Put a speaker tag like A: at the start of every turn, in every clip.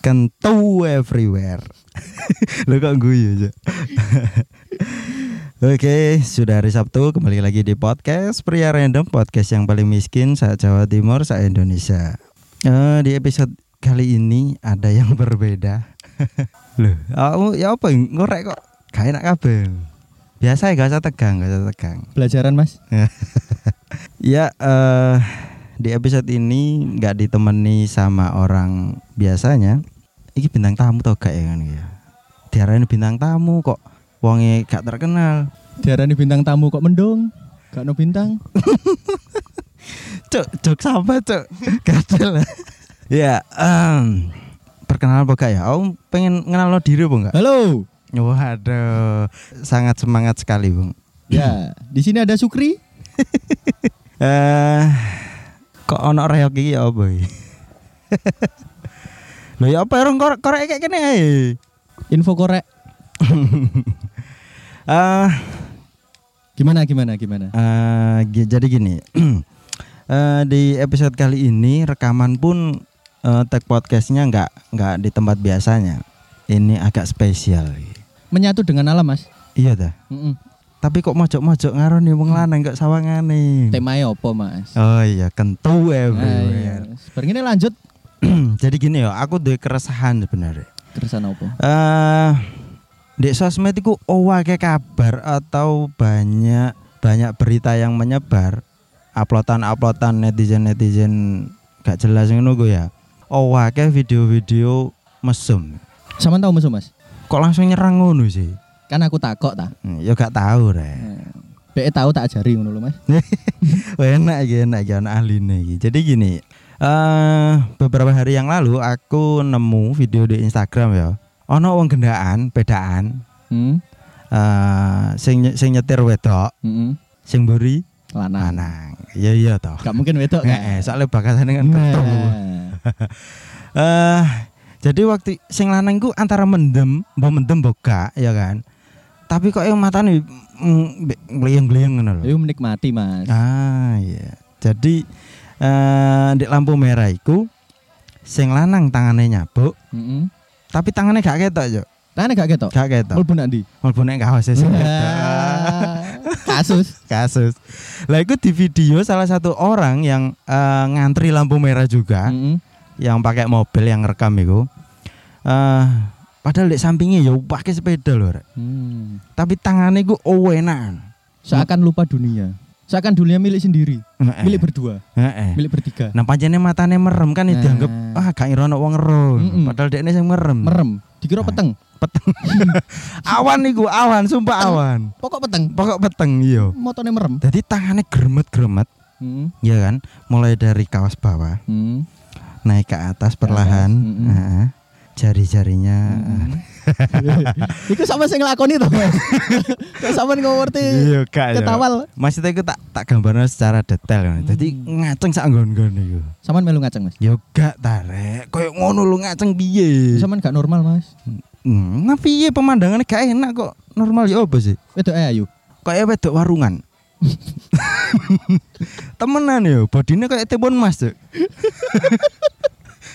A: kentu Kan everywhere. Lo kok guyu aja. Oke, sudah hari Sabtu kembali lagi di podcast Pria Random, podcast yang paling miskin saat Jawa Timur, saat Indonesia. Eh, di episode kali ini ada yang berbeda. Loh, aku ya apa ngorek kok gak enak kabel. Biasa ya gak usah tegang, gak usah tegang.
B: Pelajaran mas?
A: Ya eh di episode ini nggak ditemani sama orang biasanya. Iki bintang tamu toh gak ya kan ya. Diarahin bintang tamu kok wonge gak terkenal.
B: Diarani bintang tamu kok mendung? Gak no bintang?
A: Cuk, cuk sama cuk. Gatel. ya, em, perkenalan apa gak ya? Om pengen kenal diri apa enggak?
B: Halo.
A: Waduh, sangat semangat sekali, Bung.
B: Ya, di sini ada Sukri.
A: Eh, kok ono reok iki ya apa iki? Lho ya apa rong korek korek kayak kene ae.
B: Info korek.
A: Eh,
B: Gimana gimana gimana?
A: eh, gi- jadi gini. Eh, di episode kali ini rekaman pun eh, tag podcastnya nggak nggak di tempat biasanya. Ini agak spesial.
B: Menyatu dengan alam mas.
A: Iya dah.
B: Mm-mm.
A: Tapi kok mojok-mojok ngaruh nih wong lanang kok sawangane.
B: Temanya apa mas?
A: Oh iya, kentu
B: Ah,
A: everywhere.
B: iya. Seperti ini lanjut.
A: jadi gini ya, aku duwe keresahan sebenarnya.
B: Keresan apa?
A: eh di sosmed itu owake kabar atau banyak banyak berita yang menyebar uploadan-uploadan netizen-netizen gak jelas ngono gue ya. Owake video-video mesum.
B: Sama tahu musuh mas?
A: Kok langsung nyerang ngono sih?
B: Kan aku takok ta.
A: Hmm, Ya gak tahu re.
B: Be tahu tak ajari ngono lho mas.
A: Wah, enak iki enak iki ana ahline iki. Jadi gini, eh beberapa hari yang lalu aku nemu video di Instagram ya. Ono wong gendaan, bedaan,
B: Hmm.
A: eh sing nye- sing nyetir wedok
B: Mm-mm.
A: sing mburi
B: Lanang.
A: lanang. Iya iya toh.
B: Gak Nah, mungkin wedok
A: Heeh,
B: kan?
A: soalnya bakasane kan ketu. Eh jadi waktu sing lanang ku antara mendem, mbok mendem mbok gak, ya kan. Tapi kok yang matane ngliyeng-ngliyeng ngono lho.
B: Ayo menikmati mas.
A: Ah iya. Jadi eh di lampu merah iku sing lanang tangannya nyabuk,
B: Mm-mm.
A: tapi tangannya gak ketok yo.
B: Tangannya gak ketok.
A: Gak ketok.
B: Mulpun nanti.
A: Mulbone nek kaos sing
B: Nah.
A: ketok.
B: Kasus.
A: kasus. Lah itu di video salah satu orang yang eh, ngantri lampu merah juga,
B: Mm-mm.
A: yang pakai mobil yang rekam itu. Eh, padahal di sampingnya ya pakai sepeda loh, Rek.
B: Hmm.
A: tapi tangannya gue owenan.
B: Seakan lupa dunia. Seakan dunia milik sendiri,
A: Heeh,
B: milik berdua,
A: heeh.
B: milik bertiga.
A: Nah panjangnya matanya merem kan
B: Nah.
A: dianggap ah gak ngira ana wong ero.
B: Mm-mm.
A: Padahal dekne sing merem.
B: Merem, dikira
A: Nah.
B: peteng.
A: Awan iku awan, sumpah awan.
B: Pokok peteng,
A: Pokok peteng iya.
B: motone merem.
A: Jadi tangannya gremet-gremet,
B: Hmm.
A: ya kan? Mulai dari kaos bawah
B: Hmm.
A: naik ke atas perlahan.
B: atas, mm-mm.
A: Heeh. Jari-jarinya
B: Hmm. Iku sama sing nglakoni to, Mas. Kok sampean kok ngerti
A: Iya, kak.
B: ketawal.
A: Maksudnya aku tak tak gambarnya secara detail kan. Jadi
B: Hmm.
A: ngaceng sak nggon-nggon iku.
B: Sampean melu ngaceng, Mas.
A: Ya gak tarek, koyo ngono lu ngaceng piye?
B: Sampean gak normal, Mas.
A: Hmm, nah piye pemandangannya gak enak kok. Normal ya apa sih?
B: Wedok ae ayu.
A: Kayak wedok warungan. Temenan ya, bodinya kayak tebon mas tuh.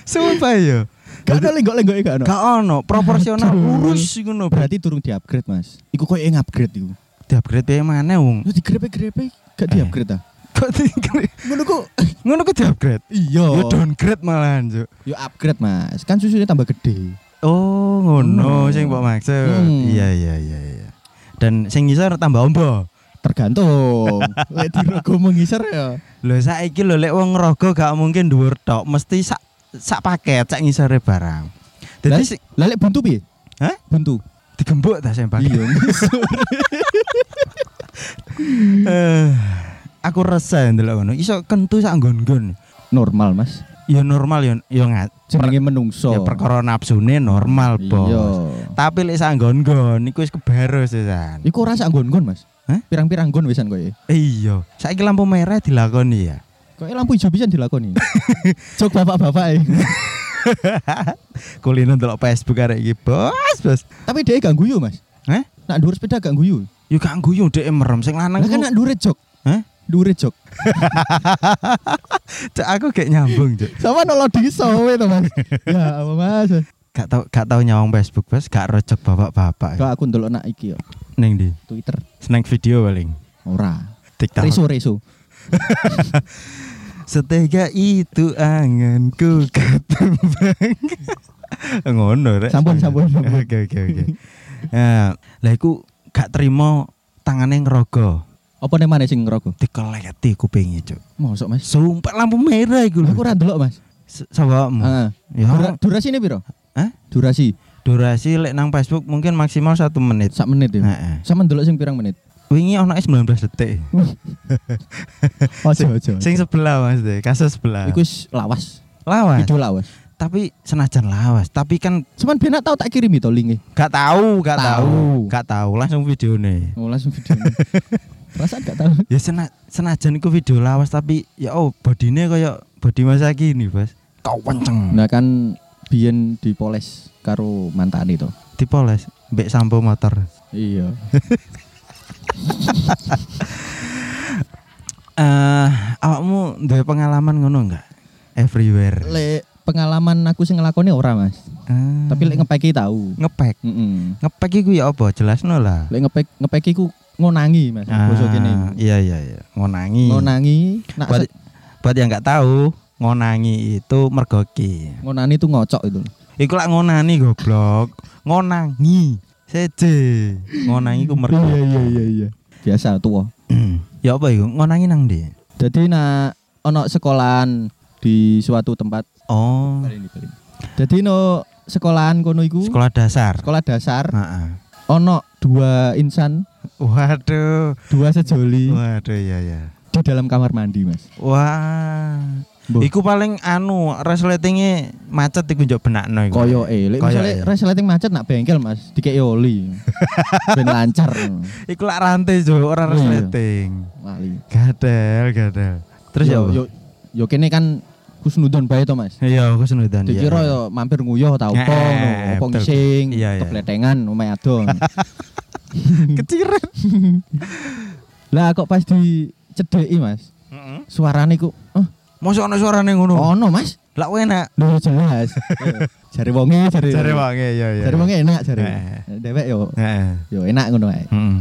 A: Sumpah ya.
B: Gak ada lenggok-lenggoke gak ono.
A: Gak ono, proporsional
B: Aduh.
A: lurus ngono. Berarti
B: Berarti turun di-upgrade, Mas. Iku koyo ngupgrade iku.
A: diupgrade piye maneh, Wong?
B: Lu digrepe-grepe gak di-upgrade ta?
A: Kok di-
B: Ngono kok.
A: ngono ku diupgrade.
B: Iya.
A: Ya downgrade malahan, Cuk.
B: Yo upgrade, Mas. Kan susunya tambah gede.
A: Oh, ngono
B: Hmm.
A: sing mbok maksud.
B: Hmm.
A: Iya, iya, iya, iya. Dan sing ngisor tambah ombo.
B: Tergantung. Lek dirogo mengisar ya.
A: Lho saiki lho lek wong rogo gak mungkin dhuwur tok, mesti sak sak paket sak ngisore barang. Dadi
B: Lah-
A: sing
B: Lah lek buntu piye?
A: Hah?
B: Buntu.
A: digembok ta sing paket.
B: Iya. ngisor.
A: Eh, aku resah ndelok ngono. Iso kentu sak nggon-nggon.
B: Normal, Mas.
A: Ya normal ya ya ngat.
B: Jenenge menungso.
A: Ya perkara nafsune normal, Bos.
B: Iya.
A: Tapi lek sak nggon-nggon iku wis kebaros sisan.
B: Iku ora sak nggon-nggon, Mas.
A: Hah?
B: Pirang-pirang nggon wisan koyo.
A: Iya, saiki lampu merah dilakoni ya.
B: Koyo lampu ijo pisan dilakoni. Jok bapak-bapak. e.
A: Kulino ndelok Facebook arek iki, Bos, Bos.
B: Tapi dia gak guyu, Mas.
A: Hah?
B: Nak dhuwur sepeda gak guyu.
A: Yo gak guyu dhek merem sing lanang.
B: Lah kan
A: ku-
B: nak dhuwure jok.
A: Hah?
B: Dhuwure jok.
A: Cak, aku kayak nyambung, Cuk.
B: Sama nolok diso we to, Mas. ya, apa Mas?
A: Gak tau gak tau nyawang Facebook bos, gak rojok bapak-bapak.
B: Kok aku ndelok nak iki yo,
A: Neng di
B: Twitter
A: seneng video paling.
B: ora.
A: TikTok.
B: Reso reso.
A: Setega itu anganku ketembang. Ngono rek.
B: Sampun, sampun, sampun.
A: Oke oke oke. Ya, Lah iku gak terima tangane ngerogo.
B: Apa nih mana sing ngerokok?
A: Dikeleti kupinge, Cuk.
B: Mosok Mas.
A: Sumpah lampu merah iku lho.
B: Aku ora ndelok Mas.
A: S- Sawamu.
B: Heeh.
A: Ya,
B: Durasi ini piro?
A: Hah?
B: Durasi
A: durasi lek nang Facebook mungkin maksimal satu menit.
B: sak menit ya.
A: Heeh.
B: Sama ndelok sing pirang menit.
A: Wingi ana 19 detik.
B: Ojo Nah. ojo.
A: Sing sebelah Mas deh, kasus sebelah.
B: Iku wis lawas.
A: lawas.
B: Video lawas.
A: Tapi senajan lawas, tapi kan
B: Cuman ben nak tau tak kirimi to linke.
A: gak tahu, gak tahu,
B: Tahu.
A: gak tahu langsung videone.
B: Oh, langsung video. Perasaan gak tahu.
A: Ya sena, senajan iku video lawas tapi ya oh bodine kaya body masa gini, Bos. Kau kenceng.
B: Nah kan biyen dipoles karo mantane to.
A: Dipoles mbek sampo motor.
B: Iya.
A: Eh, awakmu duwe pengalaman ngono enggak? Everywhere.
B: Lek pengalaman aku sing ngelakoni ora, Mas.
A: Ah.
B: Tapi lek ngepeki tahu.
A: ngepek.
B: Heeh.
A: Ngepek iku ya apa? Jelasno lah.
B: Lek ngepek ngepeki ku ngonangi, Mas. Basa kene.
A: Ah, Iya iya iya. Ngonangi.
B: Ngonangi nak
A: Buat,
B: se-
A: buat yang nggak tahu, ngonangi itu mergoki.
B: ngonani tuh ngocok itu.
A: Iku lak ngonani goblok. Ngonangi. Seje. Ngonangi ku mergoki.
B: iya iya. Biasa tua.
A: ya apa iku? Ngonangi nang ndi?
B: Jadi nak ono sekolahan di suatu tempat.
A: Oh,
B: Jadi no sekolahan kono iku
A: sekolah dasar.
B: sekolah dasar
A: Heeh.
B: ono dua insan,
A: Waduh.
B: dua sejoli
A: Waduh ya ya.
B: di dalam kamar mandi, Mas.
A: Wah.
B: Mbah.
A: Iku paling anu resletingnya macet iku njok benakno iku.
B: Koyo eh, lek
A: Koyo e.
B: misale resleting macet nak bengkel Mas, dikei oli. ben lancar.
A: Iku lak rantai jo ora
B: Iya.
A: resleting.
B: Lali.
A: Gadel, gadel. Terus ya apa?
B: yo yo kene kan kusnudon bae to Mas.
A: Iya, aku senudan. iya.
B: Dikira yo mampir nguyoh ta opo
A: Eh,
B: ngono, opo
A: betul.
B: ngising,
A: Iya, iya.
B: kepletengan omae adon.
A: keciren.
B: Lah kok pas dicedeki Mas, suarane ku oh,
A: Mosok ana suarane ngono.
B: ono Mas.
A: Lah enak.
B: Lho jelas. Iya. Jare wonge, jare.
A: Jare wange ya ya.
B: Jare wonge enak jare.
A: Eh.
B: Dewek yo
A: Heeh.
B: yo enak ngono ae.
A: Heeh.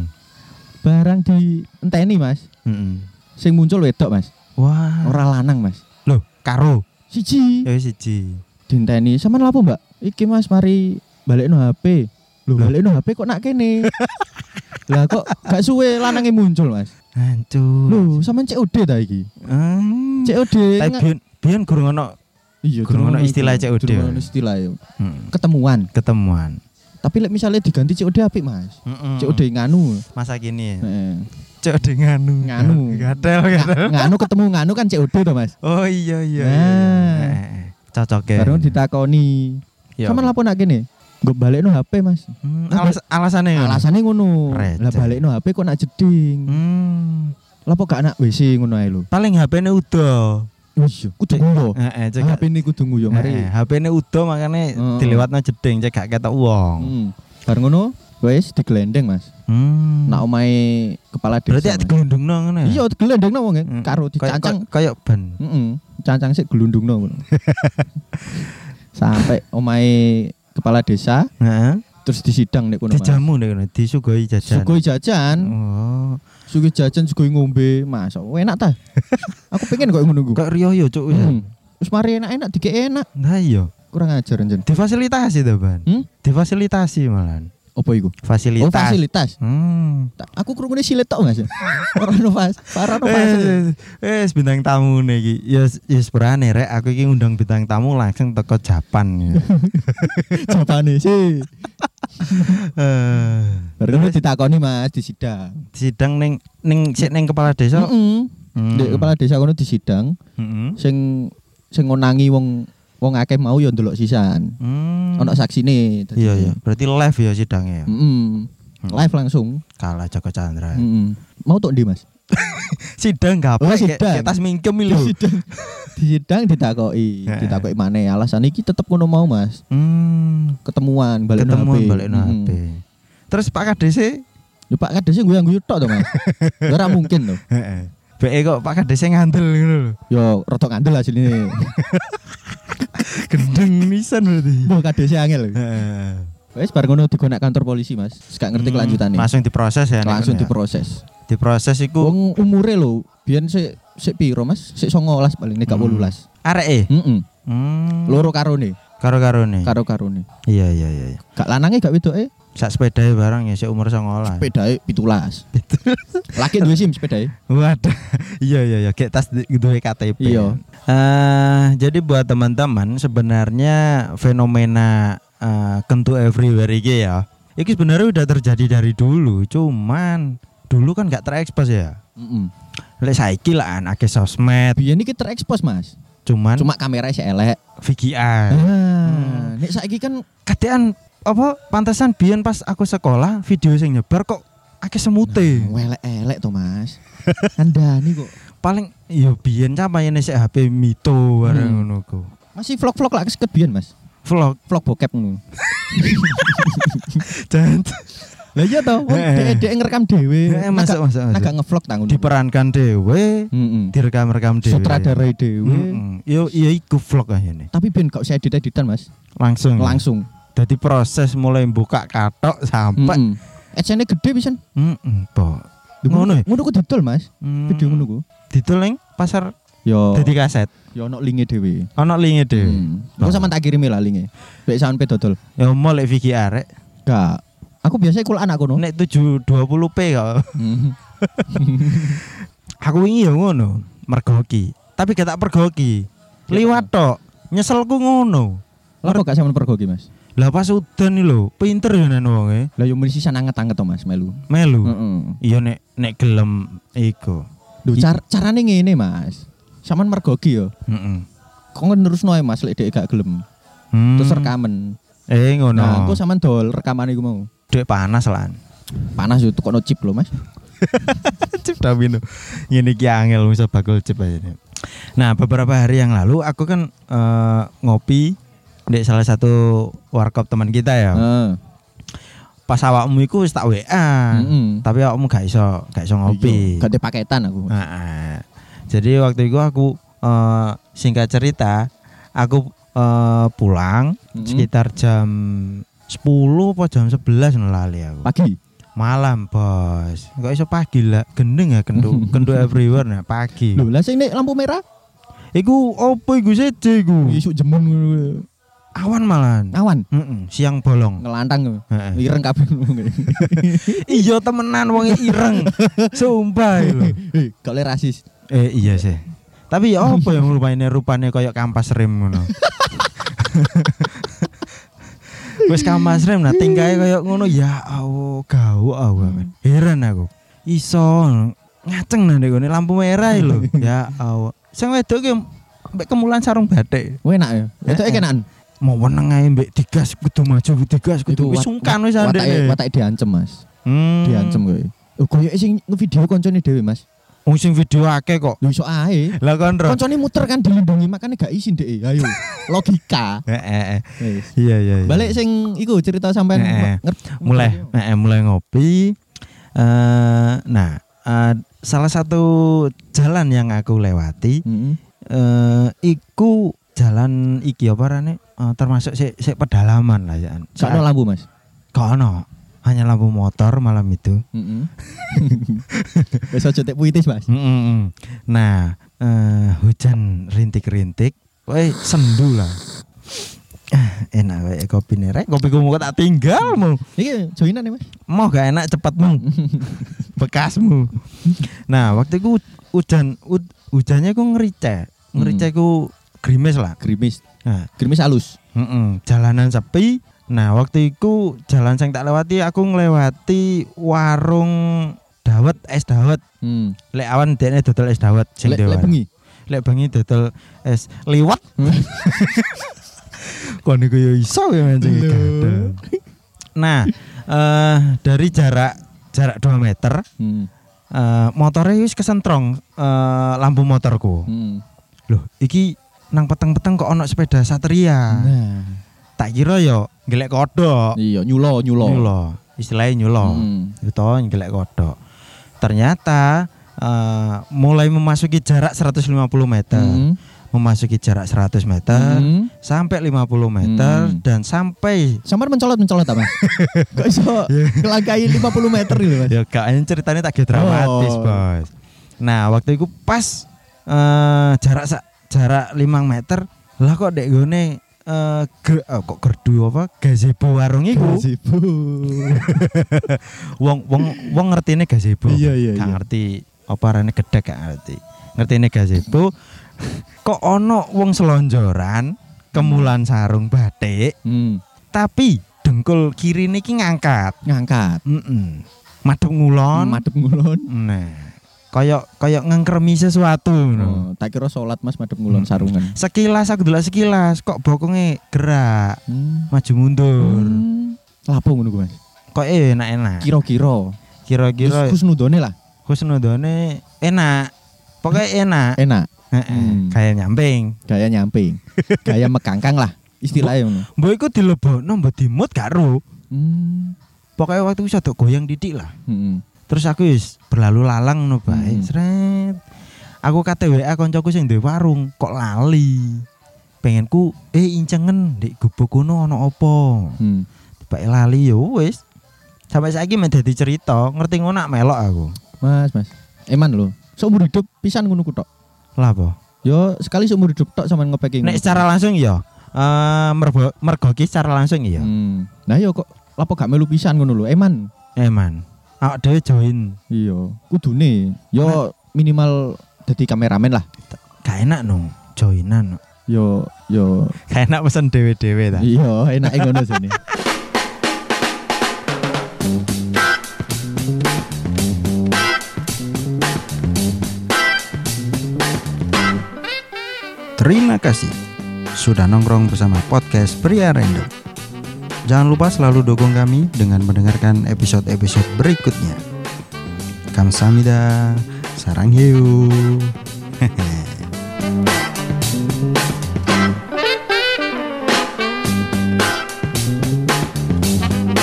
B: Barang di enteni Mas,
A: Heeh.
B: sing muncul wedok Mas,
A: Wah.
B: ora lanang Mas.
A: Loh, karo.
B: Siji.
A: Ya siji.
B: Dinteni, sampean lapo, Mbak? Iki Mas mari balekno HP. Lho,
A: Lah.
B: balekno HP kok nak kene. Lah kok gak suwe lanange muncul, Mas.
A: Hancur.
B: Lho, sampean COD ta iki?
A: Hmm.
B: COD.
A: Tapi
B: nge-
A: biyen biyen gurung ono
B: Iya,
A: gurung ono
B: iku.
A: istilah COD.
B: Durung ono istilah yo.
A: Mm.
B: Ketemuan.
A: ketemuan.
B: Tapi lek misalnya diganti COD apik, Mas.
A: Mm-mm.
B: COD nganu.
A: masa kini. Hmm. ya?
B: Heeh.
A: COD nganu.
B: Nganu.
A: Gadel, gadel.
B: Nga- Nganu ketemu nganu kan COD to, Mas.
A: Oh iya iya. iya,
B: Nah.
A: iya. Eh, eh. Cocoke.
B: Baru ditakoni.
A: Iya.
B: Sampean lapo nak kene? Nggo balekno HP, Mas.
A: Hmm, alas, alasannya ngono.
B: Alasannya ngono.
A: Receh.
B: Lah balekno HP kok nak jeding.
A: Hmm.
B: Lah kok gak nak WC ngono ae lho.
A: Paling HP-ne udah.
B: Wis, kudu nguyo.
A: Heeh, Eh, cek. Eh.
B: HP ini kudu nguyo
A: Heeh,
B: mari.
A: HP-ne udah makane
B: Heeh.
A: dilewatno jeding cek gak ketok wong.
B: Hmm. Bar ngono wis digelendeng, Mas.
A: Hmm.
B: Nak omahe kepala desa.
A: Berarti ya
B: Mas.
A: digelundungno ngono ya?
B: Nah, Iya, digelendengno wong ya.
A: Hmm.
B: karo
A: Kayak-
B: dicancang.
A: kayak kayak ban.
B: Heeh. Cancang sik gelundungno ngono. Sampai omahe kepala desa
A: Heeh.
B: terus disidang nek kono. Mas.
A: Dijamu nek ngono, disugoi jajan.
B: Sugoi jajan,
A: Oh.
B: sugoi jajan, sugoi ngombe, mas, oh, enak ta? Aku pengen kok ngono ku.
A: Kok riyo yo cuk. ya?
B: Hmm. Terus mari enak-enak, dikek enak,
A: Nah iya.
B: kurang ajar njen.
A: Difasilitasi to, Ban.
B: Hmm?
A: Difasilitasi malahan.
B: Apa iku?
A: Fasilitas.
B: Oh, fasilitas.
A: Hmm.
B: Ta- Aku kerungune silet tok Mas. Ora ono fas, ora ono fas.
A: Wes wes eh, bintang tamu nih iki. Ya ya seberane rek aku iki ngundang bintang tamu langsung teko Japan. ya.
B: Jawabane sih.
A: Eh,
B: Baru ditakoni Mas di sidang.
A: Sidang ning ning sik ning kepala desa.
B: Heeh.
A: Hmm.
B: Di kepala desa kono di sidang
A: Hmm.
B: sing sing ngonangi wong wong akeh mau ya ndelok sisan.
A: Hmm.
B: Ono Mm. saksine. dadi-
A: Iya iya, Hmm. berarti live ya sidangnya. ya?
B: Mm-mm. Live langsung.
A: Kalah Joko Chandra.
B: Mm-mm. Mau tok ndi Mas?
A: Sidang gak apa
B: Mm. Oh, sidang.
A: Kita mingkem
B: Di
A: lho.
B: sidang. Di sidang ditakoki,
A: Heeh.
B: ditakoki maneh alasan iki tetep ngono mau Mas.
A: Hmm.
B: Ketemuan balik Mm-hmm.
A: Ketemuan balik no HP.
B: Mm-mm.
A: Terus Pak Kades
B: Ya Pak kadesnya gue yang gue tok to Mas. Ora mungkin to.
A: Be kok Pak Kades ngandel ngono lho.
B: Yo rotok ngandel hasilnya.
A: Gendeng nisan berarti. Mm.
B: Mbah kadese angel.
A: Heeh.
B: Wes bar ngono digonak kantor polisi, Mas. Gak ngerti
A: Hmm,
B: kelanjutannya.
A: Langsung diproses ya. Nek
B: Langsung
A: ngono ya?
B: diproses.
A: diproses iku
B: Wong umure lho, biyen sik sik piro Mas? Sik 19 paling nek gak
A: Hmm.
B: 18.
A: areke.
B: Heeh.
A: Hmm.
B: Loro karone,
A: Karo-karone.
B: karo-karone.
A: Iya iya iya. iya.
B: Gak lanange gak e, wedoke,
A: Sak sepedae barang ya sik umur 19.
B: sepedae 17. Laki duwe SIM sepedae.
A: Waduh, iya iya iya, kayak tas di- duwe KTP.
B: Iya.
A: Eh, jadi buat teman-teman sebenarnya fenomena eh, kentu everywhere iki ya. Iki sebenarnya udah terjadi dari dulu, cuman dulu kan nggak terekspos ya.
B: Heeh.
A: Lek saiki lah anake sosmed,
B: Biyen iki terekspos, Mas.
A: cuman
B: Cuma kamera sik elek.
A: VGA.
B: Ah, nek saiki kan
A: Kadean apa pantesan biyen pas aku sekolah video sing nyebar kok akeh semute.
B: elek-elek to, Mas. Andani kok.
A: Paling yo biyen capane sik HP mito bareng
B: Hmm.
A: ngono ku.
B: Masih vlog-vlog lah keseket biyen, Mas.
A: Vlog
B: Vlog bokep ngono.
A: dan
B: Lah iya to, wong
A: Heeh.
B: dhek ngerekam dhewe.
A: Eh, masuk, masuk, masuk.
B: Naga nge-vlog ta ngono.
A: diperankan dewe
B: Heeh.
A: direkam-rekam dewe
B: Sutradara dhewe.
A: Heeh. yo yo iku vlog akhirnya
B: Tapi ben gak usah edit-editan, Mas.
A: langsung
B: Langsung.
A: jadi proses mulai buka katok sampai
B: Heeh. Ecene gede pisan.
A: heeh po
B: Ngono.
A: ngono ya?
B: Ngono ku didol, Mas.
A: Hmm.
B: Video ngono Oh. ku.
A: Didol ning pasar
B: Yo.
A: dadi kaset
B: Yo ono linke dhewe.
A: ana linge dhewe
B: Hmm. Aku sama tak kirimi lah linke. Lek sampe dodol.
A: ya mau lek Vicky arek
B: Gak. Aku biasanya kulaan aku no.
A: nek 720p kok
B: Hmm.
A: aku wingi yo ngono mergoki tapi gak tak pergoki
B: Iya.
A: liwat tok nyeselku ngono
B: Lah kok gak sampean pergo ki, Mas?
A: lah pas udan iki lho pinter ya yo nen wonge
B: Lah yo mesti san anget-anget to, Mas, melu.
A: e. melu
B: Heeh.
A: Iya nek nek gelem iku.
B: Lho
A: I-
B: car carane ngene, Mas. Sampean mergoki yo.
A: Heeh.
B: Kok nerusno ae, Mas lek dhek gak gelem. Terus
A: Hmm.
B: rekaman.
A: Eh ngono.
B: Nah, aku sampean dol rekaman iku mau.
A: Dek panas lan.
B: Panas yo tukokno chip lho, Mas.
A: Cip Davino. Ngene iki angel bisa bakul cip aja. nih. Nah, beberapa hari yang lalu aku kan eh, ngopi Dek salah satu warkop teman kita ya.
B: Heeh.
A: Pas awakmu iku wis tak WA.
B: Mm-mm.
A: Tapi awakmu gak iso, gak iso Ah, ngopi.
B: Iya, Hmm. Gak ada paketan aku.
A: Heeh. Jadi waktu itu aku eh, singkat cerita, aku eh, pulang
B: Mm-mm.
A: sekitar jam 10 apa jam 11 ngono lali aku.
B: Pagi.
A: Malam, Bos. Kok iso pagi lah, gendeng ya kendu, kendu everywhere nah pagi.
B: Lho, lah sing nek lampu merah
A: Iku opo iku seje iku?
B: isuk jemun ngono.
A: Awan malahan.
B: awan
A: Mm-mm, siang bolong.
B: ngelantang ngono.
A: Heeh.
B: ireng kabeh ngono.
A: Iya temenan wong ireng. Sumpah iki lho.
B: Eh, gak oleh rasis.
A: Eh iya sih. Tapi ya apa yang rupanya rupanya kayak kampas rem ngono. Wes kampas rem nah tingkae kayak ngono ya Allah gawok aku
B: Hmm.
A: men. Heran aku. Iso ngaceng nang ngene lampu merah iki lho. Ya Allah. Sing wedok ki mbek kemulan sarung batik.
B: Wah, enak ya.
A: Eh,
B: Itu
A: eh.
B: enakan.
A: Mau meneng ae mbek digas kudu maju digas kudu wis sungkan wis
B: Watake
A: andek.
B: watake e, diancem, Mas.
A: Hmm.
B: Diancem kowe. Oh, koyoke sing ngevideo koncone dhewe, Mas.
A: Wong sing video akeh kok.
B: Lho iso ae.
A: Lah kon Ron.
B: Koncone muter kan dilindungi makanya gak izin dhek. e. Ayo. Logika.
A: Eh, eh, eh.
B: Wes.
A: Iya iya iya.
B: Balik sing iku cerita sampean
A: Eh, eh.
B: ngerti-
A: mulai eh, mulai ngopi eh nah eh, salah satu jalan yang aku lewati
B: Heeh.
A: eh iku jalan iki apa rane Eh, termasuk sik sik pedalaman lah ya
B: Sakno lampu, Mas.
A: kono hanya lampu motor malam itu
B: Heeh. Wes aja tek puitis, Mas.
A: Mm, mm, mm. nah eh, hujan rintik-rintik woi sendu lah Ah, enak wae kopi nerek kopi mau tak tinggal mau
B: Iki joinan ya, Mas.
A: mau gak enak cepatmu bekasmu nah waktu itu hu- hujan hud- hujannya ku ngerice
B: Hmm.
A: ngerice ku gerimis lah
B: Grimis.
A: nah,
B: Grimis halus.
A: mm-mm. jalanan sepi nah waktu itu jalan yang tak lewati aku ngelewati warung dawet es dawet
B: Hmm.
A: lek awan dene dodol es dawet sing
B: Lek lek
A: dewan.
B: bengi.
A: lek bengi dodol es liwat kon iku yo iso ya mancing
B: Lho.
A: gadel. nah eh dari jarak jarak 2 meter
B: Hmm.
A: Eh, motornya wis kesentrong eh, lampu motorku.
B: Hmm.
A: Loh, iki nang peteng-peteng kok ono sepeda Satria.
B: Nah.
A: Tak kira yo ngelek kodok.
B: Iya, nyulo nyulo.
A: Nyulo. Istilahnya nyulo.
B: Hmm.
A: Itu ngelek kodok. Ternyata eh, mulai memasuki jarak 150 meter,
B: Hmm.
A: memasuki jarak 100 meter,
B: Hmm.
A: sampai 50 meter
B: Hmm.
A: dan sampai
B: Sampai mencolot mencolot apa? Kok iso kelangkai 50 meter gitu mas?
A: ya kayaknya ceritanya tak gitu dramatis,
B: Oh.
A: Bos. Nah, waktu itu pas eh, jarak sa- jarak 5 meter, lah kok dek gone eh, ger- eh, kok gerdu apa gazebo warung iku
B: Gazebo.
A: wong wong wong ngertine gazebo.
B: Iya, iya,
A: Gak
B: iya.
A: ngerti apa rene gedek gak ngerti. Ngertine gazebo kok ono wong selonjoran kemulan sarung batik
B: Hmm.
A: tapi dengkul kiri niki ngangkat.
B: Ngangkat.
A: Heeh. Madhep ngulon.
B: Madep ngulon.
A: Nah, koyok koyok ngengkremi sesuatu ngono.
B: Oh, tak kira sholat mas madep ngulon sarungan.
A: Sekilas aku delok sekilas kok bokonge gerak
B: Hmm.
A: maju mundur.
B: Hmm. Lapo ngono ku, mas.
A: Kok eh, enak-enak.
B: Kira-kira.
A: Kira-kira
B: Kus nudone lah.
A: khusnudone enak. Pokoknya enak.
B: Enak.
A: Heeh,
B: Hmm.
A: kayak nyamping.
B: Gaya nyamping. Gaya mekangkang lah. Istilahnya ngono.
A: Mbok iku dilebokno mbok dimut gak ro.
B: Hmm.
A: Pokoke waktu iku sadok goyang didik lah.
B: Hmm.
A: Terus aku wis berlalu lalang no bae.
B: Hmm.
A: Sret. Aku kate WA koncoku sing duwe warung kok lali. Pengenku eh incengen ndek gubuk kono ana apa.
B: Hmm.
A: Bae lali yo wis. Sampai saiki meh dadi cerita, ngerti ngono nak melok aku.
B: Mas, mas. Eman lho. Seumur hidup pisan ngono ku tok.
A: Lah apa?
B: Yo sekali seumur hidup tok sampean ngopeki. ngono.
A: Nek secara langsung ya eh mergo mergoki secara langsung ya.
B: Hmm. Nah yo kok lapo gak melu pisan ngono lho. Eman.
A: Hmm. Eman. Eh, Awak dhewe join.
B: Iya, kudune. Yo minimal dadi kameramen lah.
A: Gak enak no joinan. No.
B: Yo yo
A: Gak enak pesen dewe-dewe ta.
B: iya enake ngono sini.
A: Terima kasih sudah nongkrong bersama podcast Pria Random. Jangan lupa selalu dukung kami dengan mendengarkan episode-episode berikutnya. Kamsahamnida, sarang hiu.